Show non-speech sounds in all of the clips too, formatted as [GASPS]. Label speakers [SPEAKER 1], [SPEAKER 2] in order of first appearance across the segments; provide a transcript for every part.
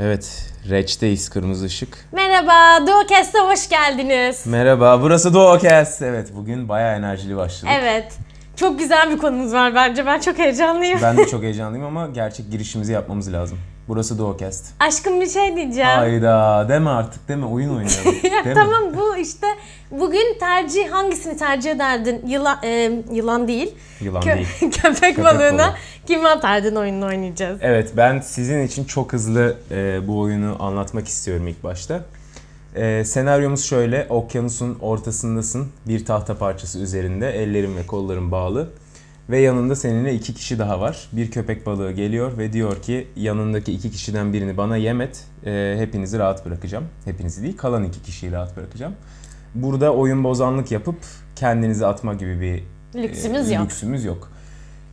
[SPEAKER 1] Evet, Reç'teyiz kırmızı ışık.
[SPEAKER 2] Merhaba, Duokest'e hoş geldiniz.
[SPEAKER 1] Merhaba, burası Doğukes. Evet, bugün bayağı enerjili başladık.
[SPEAKER 2] Evet, çok güzel bir konumuz var bence. Ben çok heyecanlıyım.
[SPEAKER 1] Ben de çok heyecanlıyım ama gerçek girişimizi yapmamız lazım. Burası Doğukest.
[SPEAKER 2] Aşkım bir şey diyeceğim. [LAUGHS]
[SPEAKER 1] Hayda, deme artık deme, oyun oynayalım.
[SPEAKER 2] Ya
[SPEAKER 1] Deme.
[SPEAKER 2] tamam bu işte bugün tercih hangisini tercih ederdin? Yılan e, yılan değil.
[SPEAKER 1] Yılan
[SPEAKER 2] Kö-
[SPEAKER 1] değil.
[SPEAKER 2] [LAUGHS] köpek,
[SPEAKER 1] balığı.
[SPEAKER 2] balığına kimi atardın oyununu oynayacağız.
[SPEAKER 1] Evet ben sizin için çok hızlı e, bu oyunu anlatmak istiyorum ilk başta. E, senaryomuz şöyle. Okyanusun ortasındasın. Bir tahta parçası üzerinde. Ellerin ve kolların bağlı. Ve yanında seninle iki kişi daha var. Bir köpek balığı geliyor ve diyor ki yanındaki iki kişiden birini bana yem et. E, hepinizi rahat bırakacağım. Hepinizi değil kalan iki kişiyi rahat bırakacağım. Burada oyun bozanlık yapıp kendinizi atma gibi bir
[SPEAKER 2] Lüksümüz
[SPEAKER 1] e,
[SPEAKER 2] yok.
[SPEAKER 1] Lüksümüz yok.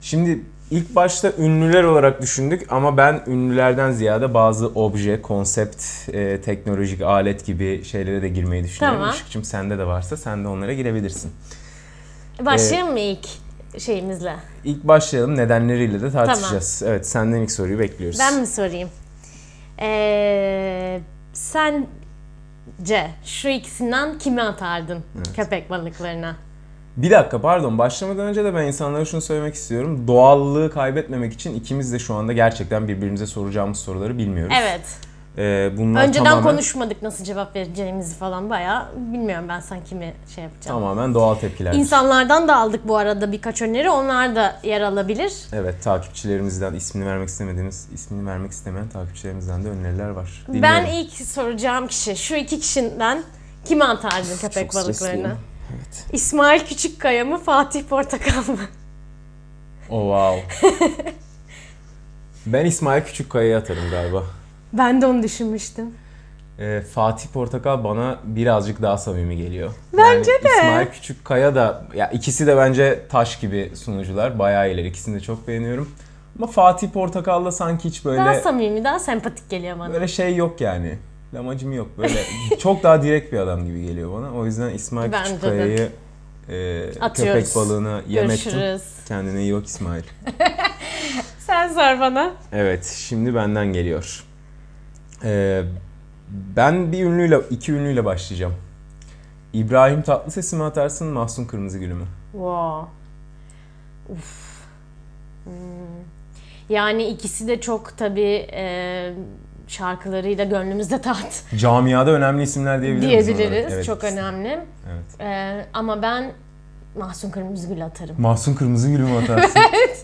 [SPEAKER 1] Şimdi ilk başta ünlüler olarak düşündük ama ben ünlülerden ziyade bazı obje, konsept, e, teknolojik alet gibi şeylere de girmeyi düşünüyorum.
[SPEAKER 2] Tamam.
[SPEAKER 1] Işıkçım sende de varsa sen de onlara girebilirsin. e,
[SPEAKER 2] Başlayalım mı ilk şeyimizle?
[SPEAKER 1] İlk başlayalım nedenleriyle de tartışacağız. Evet senden ilk soruyu bekliyoruz.
[SPEAKER 2] Ben mi sorayım? Ee, sence şu ikisinden kimi atardın köpek balıklarına?
[SPEAKER 1] Bir dakika pardon başlamadan önce de ben insanlara şunu söylemek istiyorum. Doğallığı kaybetmemek için ikimiz de şu anda gerçekten birbirimize soracağımız soruları bilmiyoruz.
[SPEAKER 2] Evet.
[SPEAKER 1] E, bunlar
[SPEAKER 2] Önceden
[SPEAKER 1] tamamen,
[SPEAKER 2] konuşmadık nasıl cevap vereceğimizi falan bayağı. Bilmiyorum ben sen kimi şey yapacağım.
[SPEAKER 1] Tamamen doğal tepkiler.
[SPEAKER 2] İnsanlardan da aldık bu arada birkaç öneri. Onlar da yer alabilir.
[SPEAKER 1] Evet takipçilerimizden ismini vermek istemediğimiz, ismini vermek istemeyen takipçilerimizden de öneriler var. Dinliyorum.
[SPEAKER 2] Ben ilk soracağım kişi şu iki kişiden kimi atardın köpek
[SPEAKER 1] Çok stresliyim.
[SPEAKER 2] balıklarını? İsmail Küçükkaya mı Fatih Portakal mı?
[SPEAKER 1] Oh wow. [LAUGHS] ben İsmail Küçükkaya'ya atarım galiba.
[SPEAKER 2] Ben de onu düşünmüştüm.
[SPEAKER 1] Ee, Fatih Portakal bana birazcık daha samimi geliyor. Bence de. İsmail Küçükkaya da ya ikisi de bence taş gibi sunucular. Bayağı iyiler. İkisini de çok beğeniyorum. Ama Fatih Portakal'da sanki hiç böyle
[SPEAKER 2] Daha samimi, daha sempatik geliyor bana.
[SPEAKER 1] böyle şey yok yani. Amacım yok. Böyle
[SPEAKER 2] [LAUGHS]
[SPEAKER 1] çok daha direkt bir adam gibi geliyor bana. O yüzden İsmail
[SPEAKER 2] Bence de.
[SPEAKER 1] Küçükkaya'yı e,
[SPEAKER 2] Atıyoruz.
[SPEAKER 1] köpek balığına yem ettim.
[SPEAKER 2] Görüşürüz.
[SPEAKER 1] Kendine iyi bak
[SPEAKER 2] [LAUGHS]
[SPEAKER 1] İsmail.
[SPEAKER 2] Sen sor bana.
[SPEAKER 1] Evet, şimdi benden geliyor. Ee, ben bir ünlüyle, iki ünlüyle başlayacağım. İbrahim Tatlıses'i mi atarsın, Mahsun Kırmızıgül'ü mü?
[SPEAKER 2] Wow. Uf. Hmm. Yani ikisi de çok tabii e, şarkılarıyla gönlümüzde tat
[SPEAKER 1] Camiada önemli isimler diyebilir miyiz onlara?
[SPEAKER 2] diyebiliriz.
[SPEAKER 1] Evet,
[SPEAKER 2] Çok önemli.
[SPEAKER 1] Evet.
[SPEAKER 2] E, ama ben Mahsun Kırmızıgül atarım.
[SPEAKER 1] Mahsun Kırmızıgül'ü mü
[SPEAKER 2] [LAUGHS]
[SPEAKER 1] atarsın?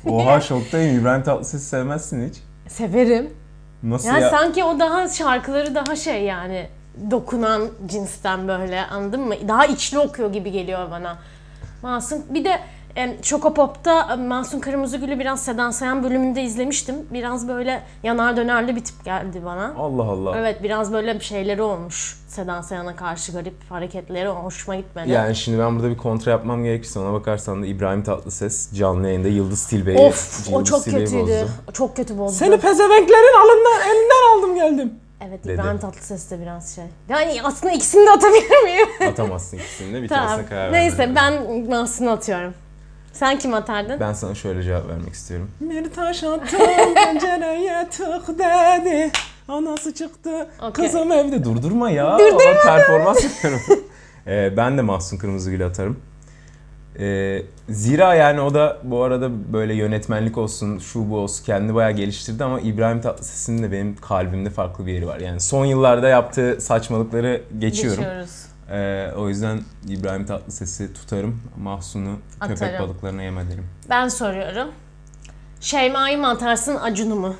[SPEAKER 1] Oha şoktayım, İbrahim Tatlıses'i sevmezsin hiç.
[SPEAKER 2] Severim.
[SPEAKER 1] Nasıl
[SPEAKER 2] Yani
[SPEAKER 1] ya?
[SPEAKER 2] sanki o daha şarkıları daha şey yani dokunan cinsten böyle anladın mı? Daha içli okuyor gibi geliyor bana. Masum bir de em, Şokopop'ta em, Masum Kırmızıgül'ü biraz Sedan Sayan bölümünde izlemiştim. Biraz böyle yanar dönerli bir tip geldi bana.
[SPEAKER 1] Allah Allah.
[SPEAKER 2] Evet biraz böyle bir şeyleri olmuş. Sedan Sayan'a karşı garip hareketleri hoşuma gitmedi.
[SPEAKER 1] Yani şimdi ben burada bir kontra yapmam gerekirse ona bakarsan da İbrahim Tatlıses canlı yayında Yıldız Tilbe'yi
[SPEAKER 2] of o
[SPEAKER 1] Yıldız
[SPEAKER 2] çok
[SPEAKER 1] Tilbe'yi
[SPEAKER 2] kötüydü.
[SPEAKER 1] bozdu.
[SPEAKER 2] O Çok kötü bozdu.
[SPEAKER 1] pezevenklerin alından, elinden aldım geldim.
[SPEAKER 2] Evet
[SPEAKER 1] Dedi.
[SPEAKER 2] İbrahim Tatlıses de biraz şey. Yani aslında ikisini de atabilir miyim?
[SPEAKER 1] Atamazsın ikisini de bir
[SPEAKER 2] Tamam.
[SPEAKER 1] tanesine karar
[SPEAKER 2] Neyse
[SPEAKER 1] vermem
[SPEAKER 2] ben Mahsun'u atıyorum. Sen kim atardın?
[SPEAKER 1] Ben sana şöyle cevap vermek istiyorum.
[SPEAKER 3] Bir taş
[SPEAKER 1] [LAUGHS]
[SPEAKER 3] attım pencereye tık dedi. Anası çıktı.
[SPEAKER 2] Okey.
[SPEAKER 1] Kızım evde durdurma ya. [LAUGHS] Durdurma. Performans yapıyorum. [LAUGHS] Ee, ben de Mahsun Kırmızıgül'ü atarım. Ee, zira yani o da bu arada böyle yönetmenlik olsun, şu bu olsun kendini bayağı geliştirdi ama İbrahim Tatlıses'in de benim kalbimde farklı bir yeri var. Yani son yıllarda yaptığı saçmalıkları geçiyorum.
[SPEAKER 2] Geçiyoruz.
[SPEAKER 1] Ee, o yüzden İbrahim Tatlıses'i tutarım. Mahsun'u köpek
[SPEAKER 2] Atarım.
[SPEAKER 1] balıklarına yem ederim.
[SPEAKER 2] Ben soruyorum. Şeyma'yı mı atarsın Acun'u mu?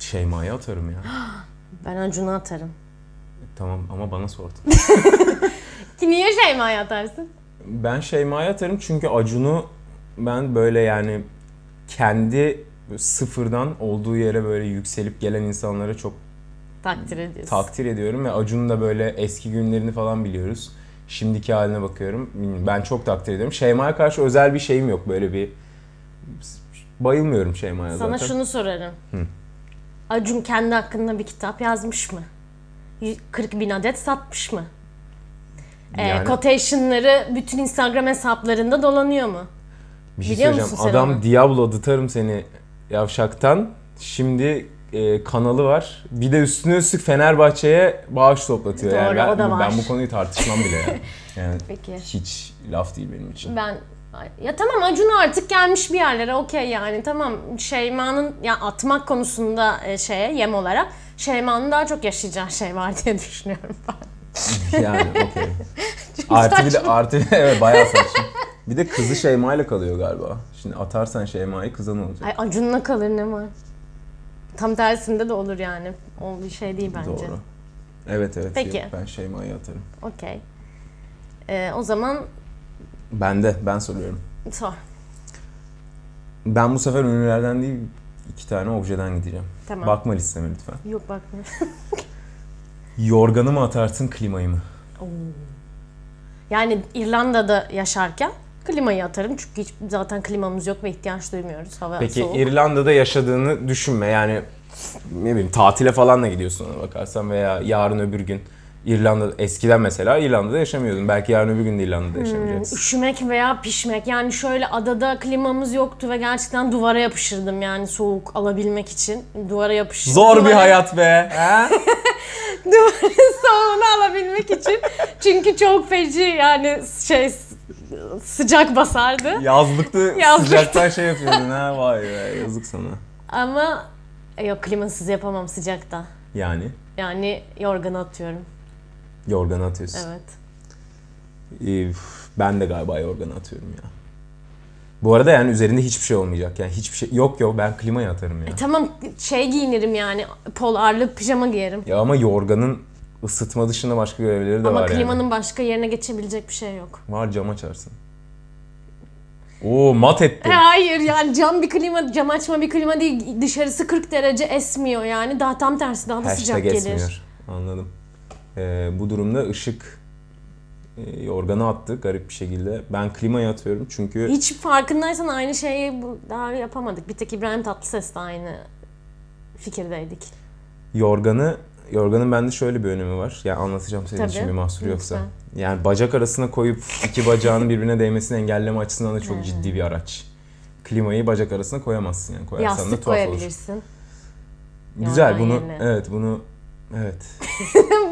[SPEAKER 1] Şeyma'ya atarım ya. [GASPS]
[SPEAKER 2] Ben Acun'u atarım.
[SPEAKER 1] Tamam ama bana sordun.
[SPEAKER 2] Ki niye Şeyma'yı atarsın?
[SPEAKER 1] Ben Şeyma'ya atarım çünkü Acun'u ben böyle yani kendi sıfırdan olduğu yere böyle yükselip gelen insanlara çok
[SPEAKER 2] Takdir ediyorsun.
[SPEAKER 1] takdir ediyorum ve Acun'un da böyle eski günlerini falan biliyoruz. Şimdiki haline bakıyorum. Bilmiyorum, Ben çok takdir ediyorum. Şeyma'ya karşı özel bir şeyim yok böyle bir bayılmıyorum Şeyma'ya
[SPEAKER 2] Sana
[SPEAKER 1] zaten.
[SPEAKER 2] şunu sorarım. Acun kendi hakkında bir kitap yazmış mı? Y- 40 bin adet satmış mı? Ee,
[SPEAKER 1] Yani-
[SPEAKER 2] Quotation'ları bütün Instagram hesaplarında dolanıyor mu?
[SPEAKER 1] Bir şey
[SPEAKER 2] Biliyor
[SPEAKER 1] söyleyeceğim.
[SPEAKER 2] musun sen
[SPEAKER 1] Adam
[SPEAKER 2] onu?
[SPEAKER 1] Diablo dıtarım seni yavşaktan. Şimdi e, kanalı var. Bir de üstüne üstlük Fenerbahçe'ye bağış toplatıyor. yani
[SPEAKER 2] Doğru,
[SPEAKER 1] ben,
[SPEAKER 2] o da var.
[SPEAKER 1] ben bu konuyu tartışmam bile
[SPEAKER 2] [LAUGHS]
[SPEAKER 1] yani. yani
[SPEAKER 2] Peki.
[SPEAKER 1] hiç laf değil benim için.
[SPEAKER 2] Ben ya tamam Acun artık gelmiş bir yerlere okey yani tamam Şeyma'nın ya atmak konusunda e, şeye yem olarak Şeyma'nın daha çok yaşayacağı şey var diye [LAUGHS] düşünüyorum ben.
[SPEAKER 1] Yani
[SPEAKER 2] [LAUGHS]
[SPEAKER 1] okey. artı bir de artı bir evet bayağı saçma. Bir de kızı Şeyma ile kalıyor galiba. Şimdi atarsan Şeyma'yı kıza ne olacak?
[SPEAKER 2] Ay Acun'la kalır ne var? Tam tersinde de olur yani. O bir şey değil bence.
[SPEAKER 1] Doğru. Evet evet.
[SPEAKER 2] Peki.
[SPEAKER 1] yok, ben Şeyma'yı atarım.
[SPEAKER 2] Okey. Ee, o zaman
[SPEAKER 1] Ben de ben soruyorum.
[SPEAKER 2] sor.
[SPEAKER 1] Ben bu sefer ünlülerden değil iki tane objeden gideceğim.
[SPEAKER 2] Tamam.
[SPEAKER 1] Bakma listeme lütfen.
[SPEAKER 2] Yok bakma.
[SPEAKER 1] Yorganı mı atarsın klimayı mı?
[SPEAKER 2] Yani İrlanda'da yaşarken klimayı atarım çünkü hiç zaten klimamız yok ve ihtiyaç duymuyoruz. Hava
[SPEAKER 1] Peki
[SPEAKER 2] soğuk.
[SPEAKER 1] İrlanda'da yaşadığını düşünme yani ne bileyim tatile falan da gidiyorsun ona bakarsan veya yarın öbür gün İrlanda eskiden mesela İrlanda'da yaşamıyordun. Belki yarın öbür gün de
[SPEAKER 2] Hmm.
[SPEAKER 1] İrlanda'da yaşamayacaksın.
[SPEAKER 2] Üşümek veya pişmek. Yani şöyle adada klimamız yoktu ve gerçekten duvara yapışırdım yani soğuk alabilmek için. Duvara yapışırdım.
[SPEAKER 1] Zor bir
[SPEAKER 2] Duvara- [LAUGHS]
[SPEAKER 1] hayat be. he?
[SPEAKER 2] Duvarın soğuğunu alabilmek için. Çünkü çok feci yani şey s- sıcak basardı.
[SPEAKER 1] [LAUGHS] Yazlıkta
[SPEAKER 2] Yazlıkta.
[SPEAKER 1] sıcaktan şey yapıyordun ha vay be yazık sana.
[SPEAKER 2] Ama e, yok klimasız yapamam sıcakta.
[SPEAKER 1] Yani
[SPEAKER 2] Yani yorganı atıyorum.
[SPEAKER 1] yorganı atıyorsun.
[SPEAKER 2] Evet.
[SPEAKER 1] Ee, üf, ben de galiba yorganı atıyorum ya. Bu arada yani üzerinde hiçbir şey olmayacak. Yani hiçbir şey yok yok ben klimayı atarım ya.
[SPEAKER 2] Tamam şey giyinirim yani polarlı pijama giyerim.
[SPEAKER 1] Ya ama yorganın ısıtma dışında başka görevleri de
[SPEAKER 2] Ama
[SPEAKER 1] var yani.
[SPEAKER 2] klimanın başka yerine geçebilecek bir şey yok.
[SPEAKER 1] Var cam açarsın. Oo mat etti.
[SPEAKER 2] E, Hayır yani cam bir klima, cam açma bir klima değil. Dışarısı 40 derece esmiyor yani. Daha tam tersi daha da sıcak
[SPEAKER 1] Hashtag
[SPEAKER 2] gelir.
[SPEAKER 1] esmiyor. Anladım. Ee, bu durumda ışık e, yorganı attı garip bir şekilde. Ben klimayı atıyorum çünkü
[SPEAKER 2] Hiç farkındaysan aynı şeyi bu- daha yapamadık. Bir tek İbrahim Tatlıses de aynı fikirdeydik.
[SPEAKER 1] yorganı yorganın bende şöyle bir önemi var. Yani anlatacağım senin için
[SPEAKER 2] Tabii.
[SPEAKER 1] bir mahsur yoksa.
[SPEAKER 2] Lütfen.
[SPEAKER 1] Yani bacak arasına koyup iki bacağın birbirine değmesini engelleme açısından da çok ciddi bir araç. Klimayı bacak arasına koyamazsın yani. Koyarsan da
[SPEAKER 2] Yastık
[SPEAKER 1] tuhaf olur.
[SPEAKER 2] koyabilirsin. [LAUGHS]
[SPEAKER 1] Güzel
[SPEAKER 2] Yorgan
[SPEAKER 1] bunu
[SPEAKER 2] yerine.
[SPEAKER 1] evet bunu evet.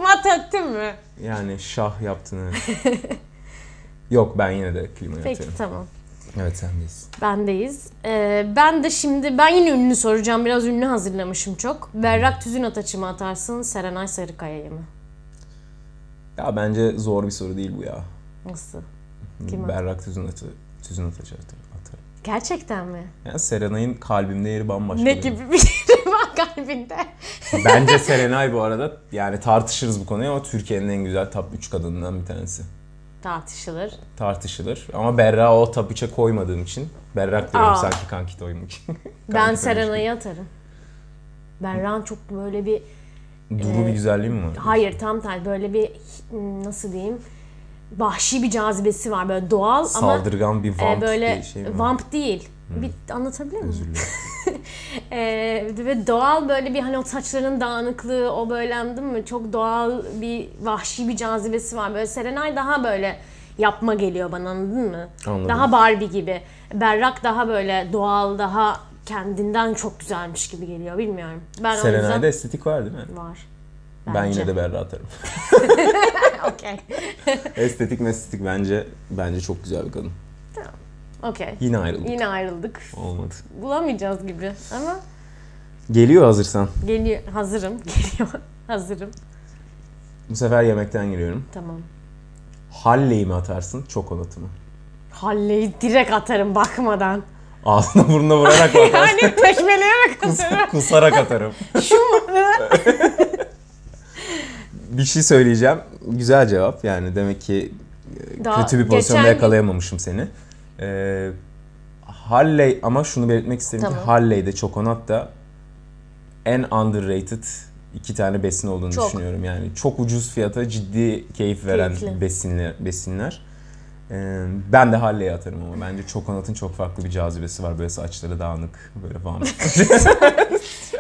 [SPEAKER 2] Mat ettin mi?
[SPEAKER 1] Yani şah yaptığını.
[SPEAKER 2] [LAUGHS]
[SPEAKER 1] Yok ben yine de klimayı
[SPEAKER 2] Peki
[SPEAKER 1] atıyorum.
[SPEAKER 2] tamam.
[SPEAKER 1] Evet sendeyiz.
[SPEAKER 2] Bendeyiz. Ee, ben de şimdi ben yine ünlü soracağım. Biraz ünlü hazırlamışım çok.
[SPEAKER 1] Hmm.
[SPEAKER 2] Berrak Tüzün Ataç'ı mı atarsın? Serenay Sarıkaya'yı mı?
[SPEAKER 1] Ya bence zor bir soru değil bu ya.
[SPEAKER 2] Nasıl? Kim o?
[SPEAKER 1] Berrak Tüzün Atı, Tüzün Ataç'ı at- atarım.
[SPEAKER 2] Gerçekten mi?
[SPEAKER 1] Yani Serenay'ın kalbimde yeri bambaşka.
[SPEAKER 2] Ne
[SPEAKER 1] benim.
[SPEAKER 2] gibi bir [LAUGHS] şey var kalbinde?
[SPEAKER 1] Bence Serenay bu arada yani tartışırız bu konuyu ama Türkiye'nin en güzel top 3 kadınından bir tanesi.
[SPEAKER 2] Tartışılır.
[SPEAKER 1] Tartışılır. Ama Berra o top 3'e koymadığım için Berrak diyorum
[SPEAKER 2] Aa.
[SPEAKER 1] sanki kanki doymuş.
[SPEAKER 2] ben Serenay'ı atarım. Berrak'ın çok böyle bir
[SPEAKER 1] Duru bir güzelliği mi var?
[SPEAKER 2] e, hayır tam tersi böyle bir nasıl diyeyim vahşi bir cazibesi var böyle doğal
[SPEAKER 1] Saldırgan bir
[SPEAKER 2] ama e,
[SPEAKER 1] vamp
[SPEAKER 2] böyle
[SPEAKER 1] bir şey mi? var?
[SPEAKER 2] vamp değil. Bir anlatabilir miyim?
[SPEAKER 1] Özür dilerim.
[SPEAKER 2] Ee, ve doğal böyle bir hani o saçların dağınıklığı o böyle anladın mı? Çok doğal bir vahşi bir cazibesi var. Böyle Serenay daha böyle yapma geliyor bana anladın mı?
[SPEAKER 1] Anladım.
[SPEAKER 2] Daha Barbie gibi. Berrak daha böyle doğal daha kendinden çok güzelmiş gibi geliyor bilmiyorum. Ben o
[SPEAKER 1] Serenay'da
[SPEAKER 2] yüzden
[SPEAKER 1] estetik var değil mi?
[SPEAKER 2] var.
[SPEAKER 1] Ben
[SPEAKER 2] Bence.
[SPEAKER 1] yine de Berra atarım. [LAUGHS]
[SPEAKER 2] [LAUGHS] Okey.
[SPEAKER 1] Estetik mestetik bence bence çok güzel bir kadın.
[SPEAKER 2] Okey.
[SPEAKER 1] Yine ayrıldık.
[SPEAKER 2] Yine ayrıldık.
[SPEAKER 1] Olmadı.
[SPEAKER 2] Bulamayacağız gibi ama
[SPEAKER 1] Geliyor hazırsan.
[SPEAKER 2] geliyor hazırım. [LAUGHS] Geliyor. hazırım.
[SPEAKER 1] Bu sefer yemekten giriyorum.
[SPEAKER 2] Tamam.
[SPEAKER 1] Halleyi mi atarsın, çokolatı mı?
[SPEAKER 2] Halleyi direkt atarım bakmadan.
[SPEAKER 1] Ağzına burnuna vurarak mı atarsın? [LAUGHS]
[SPEAKER 2] Yani tekmeleyerek atarım.
[SPEAKER 1] Kusarak atarım.
[SPEAKER 2] Şu mu?
[SPEAKER 1] Bir şey söyleyeceğim. Güzel cevap. Yani demek ki e,
[SPEAKER 2] Daha
[SPEAKER 1] kötü bir pozisyonda
[SPEAKER 2] geçen gün-
[SPEAKER 1] yakalayamamışım seni. Ee, Halley ama şunu belirtmek isterim ki
[SPEAKER 2] Tamam.
[SPEAKER 1] Halley de çokonat da en underrated iki tane besin olduğunu
[SPEAKER 2] Çok.
[SPEAKER 1] düşünüyorum. Yani çok ucuz fiyata ciddi keyif veren
[SPEAKER 2] Keyifli.
[SPEAKER 1] besinler. besinler. Ee, ben de Halley'e atarım ama bence çokonatın çok farklı bir cazibesi var. Böyle saçları dağınık, böyle vamp.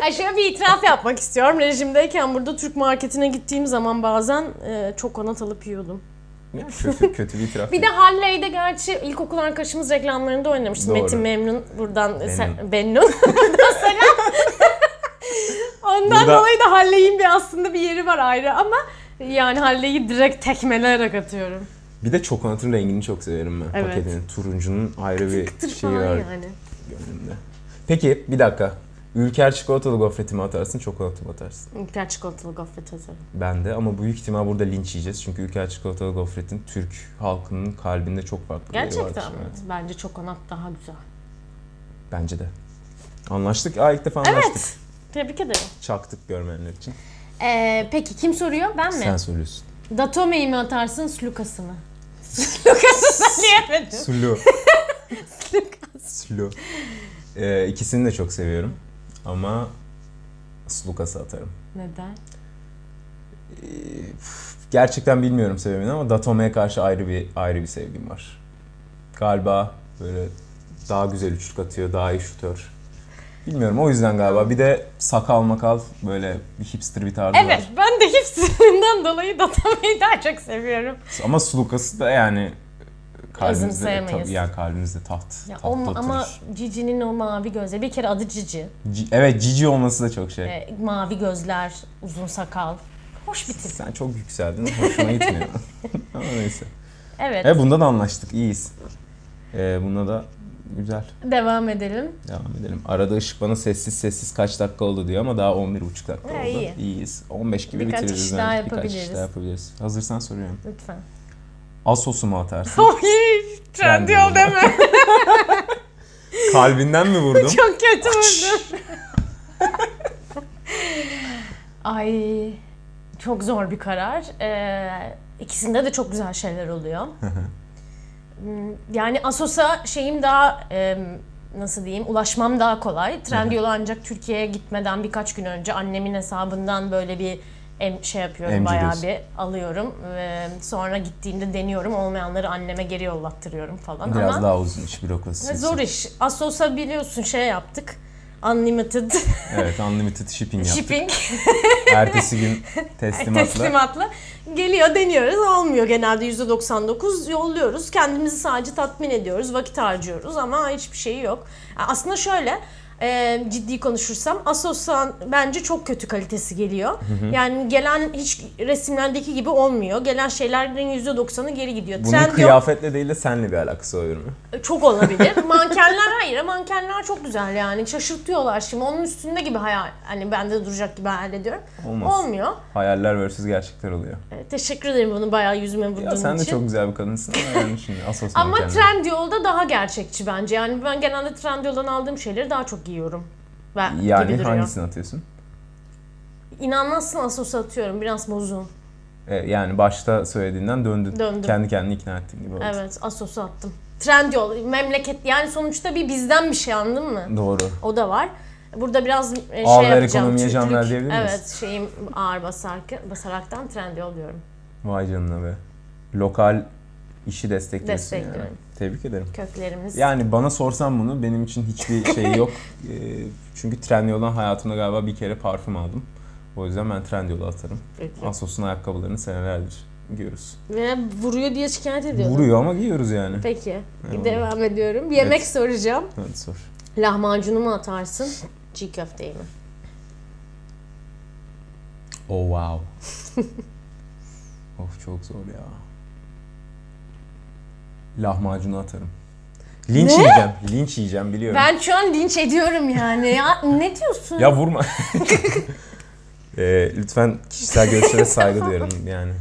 [SPEAKER 2] Ya şöyle bir itiraf yapmak istiyorum. Rejimdeyken burada Türk marketine gittiğim zaman bazen e, çok kanat alıp yiyordum.
[SPEAKER 1] Yani kötü, kötü bir itiraf.
[SPEAKER 2] Bir de Halley'de gerçi ilkokul arkadaşımız reklamlarında oynamıştı.
[SPEAKER 1] Doğru.
[SPEAKER 2] Metin Memnun [LAUGHS] buradan
[SPEAKER 1] Memnun.
[SPEAKER 2] sen, Bennun. buradan selam. Ondan
[SPEAKER 1] Burada-
[SPEAKER 2] dolayı da Halley'in bir aslında bir yeri var ayrı ama yani Halley'i direkt tekmeleyerek atıyorum.
[SPEAKER 1] Bir de çokonatın rengini çok severim ben.
[SPEAKER 2] Evet.
[SPEAKER 1] Paketinin turuncunun ayrı bir
[SPEAKER 2] Tır
[SPEAKER 1] şeyi
[SPEAKER 2] falan
[SPEAKER 1] Şey var
[SPEAKER 2] yani.
[SPEAKER 1] gönlümde. Peki bir dakika. Ülker çikolatalı gofretimi atarsın, çikolatımı atarsın.
[SPEAKER 2] Miktar çikolatalı gofret hazır.
[SPEAKER 1] Ben de ama büyük ihtimal burada linç yiyeceğiz. Çünkü Ülker çikolatalı gofretin Türk halkının kalbinde çok farklı bir yeri
[SPEAKER 2] Gerçekten
[SPEAKER 1] vardır.
[SPEAKER 2] mi?
[SPEAKER 1] Evet.
[SPEAKER 2] Bence çokonat daha güzel.
[SPEAKER 1] Bence de. Anlaştık. Aa ilk defa anlaştık.
[SPEAKER 2] Evet. Tebrik ederim.
[SPEAKER 1] Çaktık görmeyenler için.
[SPEAKER 2] Ee, peki kim soruyor? Ben mi?
[SPEAKER 1] Sen
[SPEAKER 2] [LAUGHS]
[SPEAKER 1] söylüyorsun.
[SPEAKER 2] Datome'yi mi atarsın, Slukas'ı mı? [LAUGHS] Slukas'ı söyleyemedim.
[SPEAKER 1] Sulu. Sulu. Ee, ikisini de çok seviyorum. Ama Slukas'ı atarım.
[SPEAKER 2] Neden?
[SPEAKER 1] Ee, üf, gerçekten bilmiyorum sebebini ama Datome'ye karşı ayrı bir ayrı bir sevgim var. Galiba böyle daha güzel üçlük atıyor, daha iyi şutör. Bilmiyorum o yüzden galiba. Bir de sakal makal böyle bir hipster bir tarzı
[SPEAKER 2] Evet,
[SPEAKER 1] var.
[SPEAKER 2] ben de hepsinden dolayı Datome'yi daha çok seviyorum.
[SPEAKER 1] Ama Slukas'ı da yani kalbimizde,
[SPEAKER 2] Azımsayamayız.
[SPEAKER 1] tabii yani kalbimizde taht.
[SPEAKER 2] Ya
[SPEAKER 1] tahtta
[SPEAKER 2] o, ma- ama
[SPEAKER 1] oturur.
[SPEAKER 2] Cici'nin o mavi gözleri, bir kere adı Cici.
[SPEAKER 1] Ci- evet Cici olması da çok şey.
[SPEAKER 2] Ee, mavi gözler, uzun sakal. Hoş bir tip.
[SPEAKER 1] Sen çok yükseldin. Hoşuma
[SPEAKER 2] [LAUGHS]
[SPEAKER 1] gitmiyor. Ama neyse.
[SPEAKER 2] Evet,
[SPEAKER 1] E bunda da anlaştık. iyiyiz. E, bunda da güzel.
[SPEAKER 2] devam edelim.
[SPEAKER 1] Devam edelim. Arada ışık bana sessiz sessiz kaç dakika oldu diyor ama daha 11.5 dakika
[SPEAKER 2] Ha,
[SPEAKER 1] oldu.
[SPEAKER 2] iyi.
[SPEAKER 1] İyiyiz. 15 gibi
[SPEAKER 2] Birkaç
[SPEAKER 1] bitiririz.
[SPEAKER 2] iş
[SPEAKER 1] bence.
[SPEAKER 2] daha
[SPEAKER 1] Birkaç iş
[SPEAKER 2] yapabiliriz.
[SPEAKER 1] daha yapabiliriz. Hazırsan soruyorum.
[SPEAKER 2] Lütfen.
[SPEAKER 1] Asos'u mu
[SPEAKER 2] [LAUGHS]
[SPEAKER 1] atarsın?
[SPEAKER 2] Oy,
[SPEAKER 1] Ben de
[SPEAKER 2] trendy yol
[SPEAKER 1] bilmiyorum.
[SPEAKER 2] deme.
[SPEAKER 1] Kalbinden mi vurdum?
[SPEAKER 2] Çok kötü vurdun. Ay çok zor bir karar. Ee, ikisinde de çok güzel şeyler oluyor. Hmm, yani Asos'a şeyim daha e, nasıl diyeyim ulaşmam daha kolay. Trendyol'u ancak Türkiye'ye gitmeden birkaç gün önce annemin hesabından böyle bir em, şey yapıyorum
[SPEAKER 1] Emciliyorsun.
[SPEAKER 2] bayağı bir alıyorum. Ee, sonra gittiğimde deniyorum olmayanları anneme geri yollattırıyorum falan
[SPEAKER 1] Biraz
[SPEAKER 2] ama.
[SPEAKER 1] daha uzun iş bürokrasisi.
[SPEAKER 2] Ve Zor iş. Asos'a biliyorsun şey yaptık. Unlimited
[SPEAKER 1] Evet unlimited shipping yaptık.
[SPEAKER 2] [LAUGHS] shipping
[SPEAKER 1] Ertesi
[SPEAKER 2] [LAUGHS]
[SPEAKER 1] gün teslimatla.
[SPEAKER 2] teslimatla geliyor deniyoruz olmuyor genelde %99 yolluyoruz kendimizi sadece tatmin ediyoruz vakit harcıyoruz ama hiçbir şey yok. Aslında şöyle e, ciddi konuşursam Asos'tan bence çok kötü kalitesi geliyor. Yani gelen hiç resimlerdeki gibi olmuyor. Gelen şeylerin %90'ı geri gidiyor.
[SPEAKER 1] Bunun
[SPEAKER 2] Trendyol-
[SPEAKER 1] kıyafetle değil de senle bir alakası olur mu?
[SPEAKER 2] Çok olabilir. [LAUGHS] mankenler hayır. Mankenler çok güzel yani. Şaşırtıyorlar şimdi. Onun üstünde gibi hayal. Hani bende duracak gibi hayal ediyorum.
[SPEAKER 1] Olmaz.
[SPEAKER 2] Olmuyor.
[SPEAKER 1] Hayaller vs. gerçekler oluyor.
[SPEAKER 2] Ee, teşekkür ederim bunu bayağı yüzüme vurduğun
[SPEAKER 1] Ya sen de
[SPEAKER 2] için.
[SPEAKER 1] çok güzel bir kadınsın ama yani şimdi asos
[SPEAKER 2] Ama
[SPEAKER 1] mankenler.
[SPEAKER 2] Trendyol'da daha gerçekçi bence. Yani ben genelde Trendyol'dan aldığım şeyleri daha çok giyiyorum. Ve gibi
[SPEAKER 1] Yani
[SPEAKER 2] duruyor.
[SPEAKER 1] hangisini atıyorsun?
[SPEAKER 2] İnanmazsın Asos'a atıyorum. Biraz bozum.
[SPEAKER 1] E, yani başta söylediğinden döndün.
[SPEAKER 2] Döndüm.
[SPEAKER 1] Kendi kendini ikna ettin gibi oldu.
[SPEAKER 2] Evet Asos'a attım. Trendyol memleket yani sonuçta bir bizden bir şey anladın mı?
[SPEAKER 1] Doğru.
[SPEAKER 2] O da var. Burada biraz e, şey
[SPEAKER 1] Ağır ver
[SPEAKER 2] yapacağım.
[SPEAKER 1] ekonomiye can
[SPEAKER 2] Türklük.
[SPEAKER 1] ver diyebilir miyiz?
[SPEAKER 2] Evet şeyim ağır basark, basaraktan trendi oluyorum.
[SPEAKER 1] Vay canına be. Lokal işi destekliyorsun
[SPEAKER 2] Destekliyorum.
[SPEAKER 1] yani. Tebrik ederim.
[SPEAKER 2] Köklerimiz.
[SPEAKER 1] Yani bana sorsan bunu benim için hiçbir şey
[SPEAKER 2] [LAUGHS]
[SPEAKER 1] yok. E, çünkü Trendyol'dan hayatımda galiba bir kere parfüm aldım. O yüzden ben Trendyol'u atarım.
[SPEAKER 2] Peki.
[SPEAKER 1] Asos'un ayakkabılarını senelerdir giyiyoruz.
[SPEAKER 2] Ve vuruyor diye şikayet ediyordum.
[SPEAKER 1] Vuruyor ama giyiyoruz yani.
[SPEAKER 2] Peki.
[SPEAKER 1] Eyvallah.
[SPEAKER 2] Devam ediyorum. Yemek
[SPEAKER 1] Evet.
[SPEAKER 2] soracağım.
[SPEAKER 1] Hadi sor.
[SPEAKER 2] Lahmacunu mu atarsın? Çiğ köfteyi mi?
[SPEAKER 1] Oh wow.
[SPEAKER 2] [LAUGHS]
[SPEAKER 1] of çok zor ya. Lahmacunu atarım. Linç yiyeceğim. Linç yiyeceğim biliyorum.
[SPEAKER 2] Ben şu an linç ediyorum yani. Ya ne diyorsun?
[SPEAKER 1] Ya vurma. [LAUGHS] Ee, lütfen kişisel görüşlere saygı duyarım yani.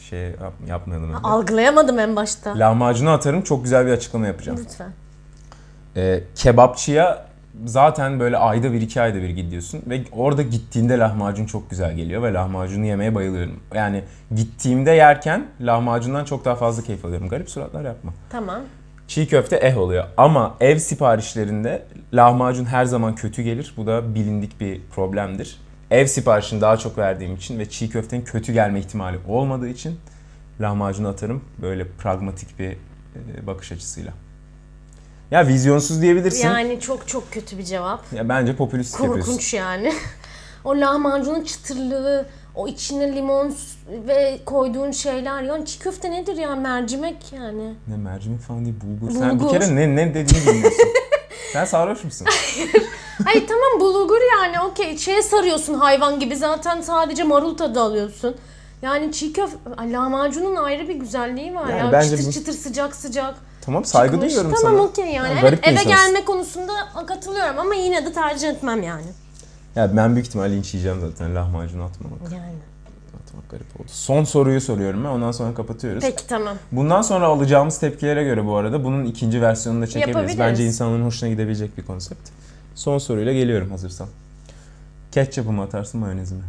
[SPEAKER 1] Şey yap, yapmayalım. öyle.
[SPEAKER 2] Algılayamadım en başta.
[SPEAKER 1] Lahmacunu atarım çok güzel bir açıklama yapacağım.
[SPEAKER 2] Lütfen.
[SPEAKER 1] Ee, kebapçıya zaten böyle ayda bir iki ayda bir gidiyorsun ve orada gittiğinde lahmacun çok güzel geliyor ve lahmacunu yemeye bayılıyorum. Yani gittiğimde yerken lahmacundan çok daha fazla keyif alıyorum. Garip suratlar yapma.
[SPEAKER 2] Tamam.
[SPEAKER 1] Çiğ köfte eh oluyor ama ev siparişlerinde lahmacun her zaman kötü gelir. Bu da bilindik bir problemdir. Ev siparişini daha çok verdiğim için ve çiğ köftenin kötü gelme ihtimali olmadığı için lahmacunu atarım böyle pragmatik bir e, bakış açısıyla. Ya vizyonsuz diyebilirsin.
[SPEAKER 2] Yani çok çok kötü bir cevap.
[SPEAKER 1] Ya bence popülist yapıyorsun.
[SPEAKER 2] Korkunç yani. [LAUGHS] o lahmacunun çıtırlığı, o içine limon ve koyduğun şeyler. Yani çiğ köfte nedir ya? Mercimek yani.
[SPEAKER 1] [LAUGHS] Ne mercimek falan değil bulgur. Sen bir
[SPEAKER 2] Bulgur.
[SPEAKER 1] kere ne ne dediğini bilmiyorsun. [LAUGHS] Sen sarhoş musun?
[SPEAKER 2] Ay tamam bulgur yani okey. Şeye sarıyorsun hayvan gibi zaten sadece marul tadı alıyorsun. Yani çiğ köfte, Ay, lahmacunun ayrı bir güzelliği var
[SPEAKER 1] Yani
[SPEAKER 2] ya.
[SPEAKER 1] bence
[SPEAKER 2] çıtır
[SPEAKER 1] bu-
[SPEAKER 2] çıtır sıcak sıcak.
[SPEAKER 1] tamam saygı
[SPEAKER 2] çıkmış.
[SPEAKER 1] duyuyorum
[SPEAKER 2] tamam,
[SPEAKER 1] sana.
[SPEAKER 2] okey yani.
[SPEAKER 1] Yani
[SPEAKER 2] Evet,
[SPEAKER 1] garip bir
[SPEAKER 2] eve
[SPEAKER 1] insansın.
[SPEAKER 2] gelme konusunda katılıyorum ama yine de tercih etmem yani.
[SPEAKER 1] Ya ben büyük ihtimalle linç yiyeceğim zaten lahmacun atmamak.
[SPEAKER 2] Yani.
[SPEAKER 1] Atmak garip oldu. Son soruyu soruyorum ben ondan sonra kapatıyoruz.
[SPEAKER 2] Peki tamam.
[SPEAKER 1] Bundan sonra alacağımız tepkilere göre bu arada bunun ikinci versiyonunu da çekebiliriz.
[SPEAKER 2] Yapabiliriz.
[SPEAKER 1] Bence insanların hoşuna gidebilecek bir konsept. Son soruyla geliyorum hazırsan. Ketçapı mı atarsın mayonezi mi?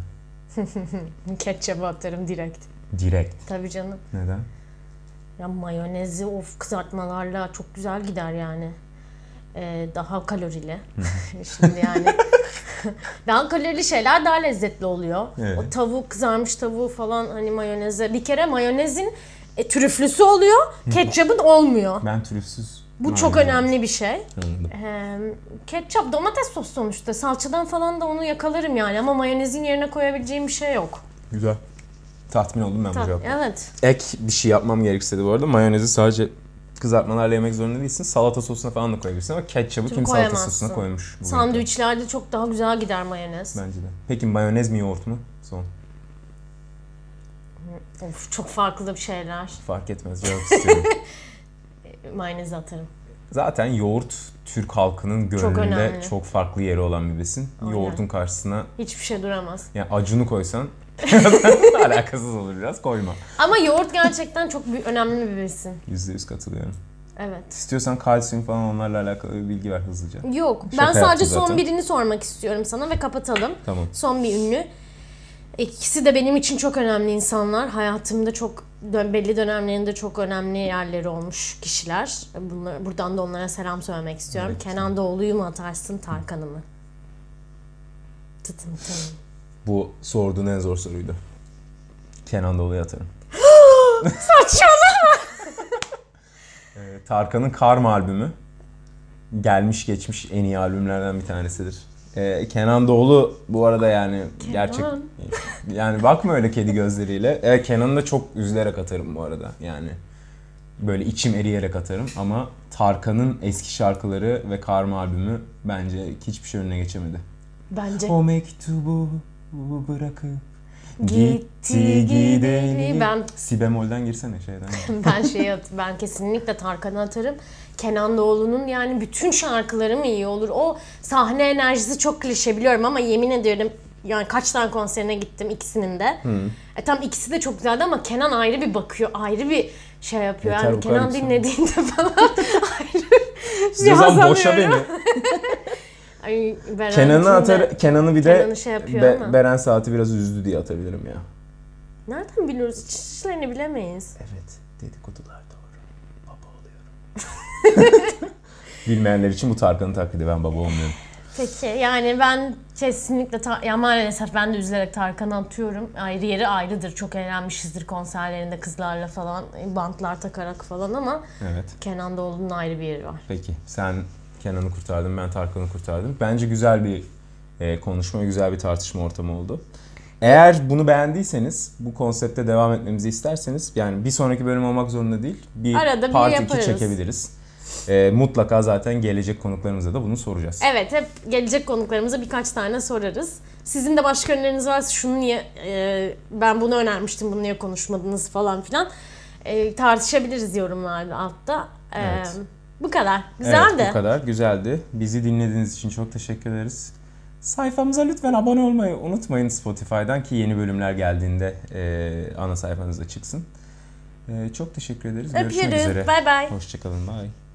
[SPEAKER 2] Ketçap atarım direkt.
[SPEAKER 1] Direkt.
[SPEAKER 2] Tabii canım.
[SPEAKER 1] Neden?
[SPEAKER 2] Ya mayonezi of kızartmalarla çok güzel gider yani. Ee, daha kalorili. [LAUGHS] Şimdi yani daha kalorili şeyler daha lezzetli oluyor.
[SPEAKER 1] Evet.
[SPEAKER 2] O tavuk kızarmış tavuğu falan hani mayoneze. Bir kere mayonezin e, trüflüsü oluyor, ketçapın olmuyor.
[SPEAKER 1] Ben trüfsüz.
[SPEAKER 2] Bu çok önemli bir şey.
[SPEAKER 1] Anladım.
[SPEAKER 2] Ee, ketçap domates sos sonuçta. Salçadan falan da onu yakalarım yani ama mayonezin yerine koyabileceğim bir şey yok.
[SPEAKER 1] Güzel. Tatmin oldum ben bu
[SPEAKER 2] Ta-
[SPEAKER 1] cevapla.
[SPEAKER 2] evet.
[SPEAKER 1] Ek bir şey yapmam gerekseydi bu arada mayonezi sadece kızartmalarla yemek zorunda değilsin. Salata sosuna falan da koyabilirsin ama ketçapı kim salata
[SPEAKER 2] koyamazsın.
[SPEAKER 1] sosuna koymuş? bugüne kadar?
[SPEAKER 2] Sandviçlerde çok daha güzel gider mayonez.
[SPEAKER 1] Bence de. Peki mayonez mi yoğurt mu? Son.
[SPEAKER 2] Of çok farklı bir şeyler.
[SPEAKER 1] Fark etmez cevap
[SPEAKER 2] [LAUGHS]
[SPEAKER 1] istiyorum.
[SPEAKER 2] Mayonez atarım.
[SPEAKER 1] Zaten yoğurt Türk halkının gönlünde
[SPEAKER 2] önemli.
[SPEAKER 1] çok, farklı yeri olan bir besin.
[SPEAKER 2] Aynen.
[SPEAKER 1] Yoğurdun karşısına
[SPEAKER 2] Hiçbir şey duramaz.
[SPEAKER 1] yani acunu
[SPEAKER 2] [LAUGHS]
[SPEAKER 1] koysan [LAUGHS] alakasız olur biraz koyma.
[SPEAKER 2] Ama yoğurt gerçekten çok büyük, önemli bir besin.
[SPEAKER 1] %100 katılıyorum.
[SPEAKER 2] Evet.
[SPEAKER 1] İstiyorsan kalsiyum falan onlarla alakalı bir bilgi ver hızlıca.
[SPEAKER 2] Yok.
[SPEAKER 1] Şaka
[SPEAKER 2] ben sadece
[SPEAKER 1] yaptım
[SPEAKER 2] son
[SPEAKER 1] zaten.
[SPEAKER 2] birini sormak istiyorum sana ve kapatalım.
[SPEAKER 1] Tamam.
[SPEAKER 2] Son bir ünlü. İkisi de benim için çok önemli insanlar. Hayatımda çok dön- belli dönemlerinde çok önemli yerleri olmuş kişiler. Bunlar, buradan da onlara selam söylemek istiyorum.
[SPEAKER 1] Evet.
[SPEAKER 2] Kenan Doğulu'yu mu atarsın, Tarkan'ı mı? Tıtım tım.
[SPEAKER 1] Bu sorduğun en zor soruydu. Kenan Doğulu'ya atarım. Ee, Tarkan'ın Karma albümü. Gelmiş geçmiş en iyi albümlerden bir tanesidir. Ee, Kenan Doğulu bu arada yani gerçek
[SPEAKER 2] Kenan.
[SPEAKER 1] yani bakma öyle kedi gözleriyle. Ee, Kenan'ı da çok üzülerek atarım bu arada. Yani böyle içim eriyerek atarım ama Tarkan'ın eski şarkıları ve Karma albümü bence hiçbir şey önüne geçemedi.
[SPEAKER 2] Bence
[SPEAKER 1] O mektubu bırakıp
[SPEAKER 2] Gitti gideli. Ben
[SPEAKER 1] Si bemolden girsene
[SPEAKER 2] [LAUGHS]
[SPEAKER 1] şeyden.
[SPEAKER 2] ben şey at- ben kesinlikle Tarkan'ı atarım. Kenan Doğulu'nun yani bütün şarkıları mı iyi olur? O sahne enerjisi çok klişe biliyorum ama yemin ediyorum yani kaç tane konserine gittim ikisinin de. E tam ikisi de çok güzeldi ama Kenan ayrı bir bakıyor, ayrı bir şey yapıyor.
[SPEAKER 1] Yeter
[SPEAKER 2] yani
[SPEAKER 1] bu kadar
[SPEAKER 2] Kenan
[SPEAKER 1] yüksel.
[SPEAKER 2] dinlediğinde falan ayrı bir haz
[SPEAKER 1] Zezan boşa
[SPEAKER 2] alıyorum.
[SPEAKER 1] beni.
[SPEAKER 2] Ay, Beren
[SPEAKER 1] Kenan'ı
[SPEAKER 2] Tünde-
[SPEAKER 1] atar, Kenan'ı bir de
[SPEAKER 2] Kenan'ı şey yapıyor
[SPEAKER 1] Be-
[SPEAKER 2] ama.
[SPEAKER 1] Beren Saati biraz üzdü diye atabilirim ya.
[SPEAKER 2] Nereden biliyoruz? Hiç işlerini bilemeyiz.
[SPEAKER 1] Evet, dedikodular doğru. Baba oluyorum.
[SPEAKER 2] [LAUGHS]
[SPEAKER 1] Bilmeyenler için bu Tarkan'ın taklidi ben baba olmuyorum.
[SPEAKER 2] Peki yani ben kesinlikle ta- ya maalesef ben de üzülerek Tarkan'ı atıyorum. Ayrı yeri ayrıdır. Çok eğlenmişizdir konserlerinde kızlarla falan, bantlar takarak falan ama
[SPEAKER 1] Evet.
[SPEAKER 2] Kenan Doğulu'nun ayrı bir yeri var.
[SPEAKER 1] Peki sen Kenan'ı kurtardın, ben Tarkan'ı kurtardım. Bence güzel bir e, konuşma, güzel bir tartışma ortamı oldu. Eğer bunu beğendiyseniz, bu konsepte devam etmemizi isterseniz, yani bir sonraki bölüm olmak zorunda değil, bir
[SPEAKER 2] Arada bir
[SPEAKER 1] part 2
[SPEAKER 2] yaparız.
[SPEAKER 1] çekebiliriz. E, mutlaka zaten gelecek konuklarımıza da bunu soracağız.
[SPEAKER 2] Evet hep gelecek konuklarımıza birkaç tane sorarız. Sizin de başka önerileriniz varsa şunu niye e, ben bunu önermiştim bunu niye konuşmadınız falan filan e, tartışabiliriz yorumlarda altta. E,
[SPEAKER 1] Evet.
[SPEAKER 2] Bu kadar.
[SPEAKER 1] Evet,
[SPEAKER 2] Güzeldi.
[SPEAKER 1] bu kadar. Güzeldi. Bizi dinlediğiniz için çok teşekkür ederiz. Sayfamıza lütfen abone olmayı unutmayın Spotify'dan ki yeni bölümler geldiğinde e, ana sayfanızda çıksın. E, çok teşekkür ederiz. Görüşmek üzere.
[SPEAKER 2] Öpüyoruz. Bay bay.
[SPEAKER 1] Hoşçakalın. Bye.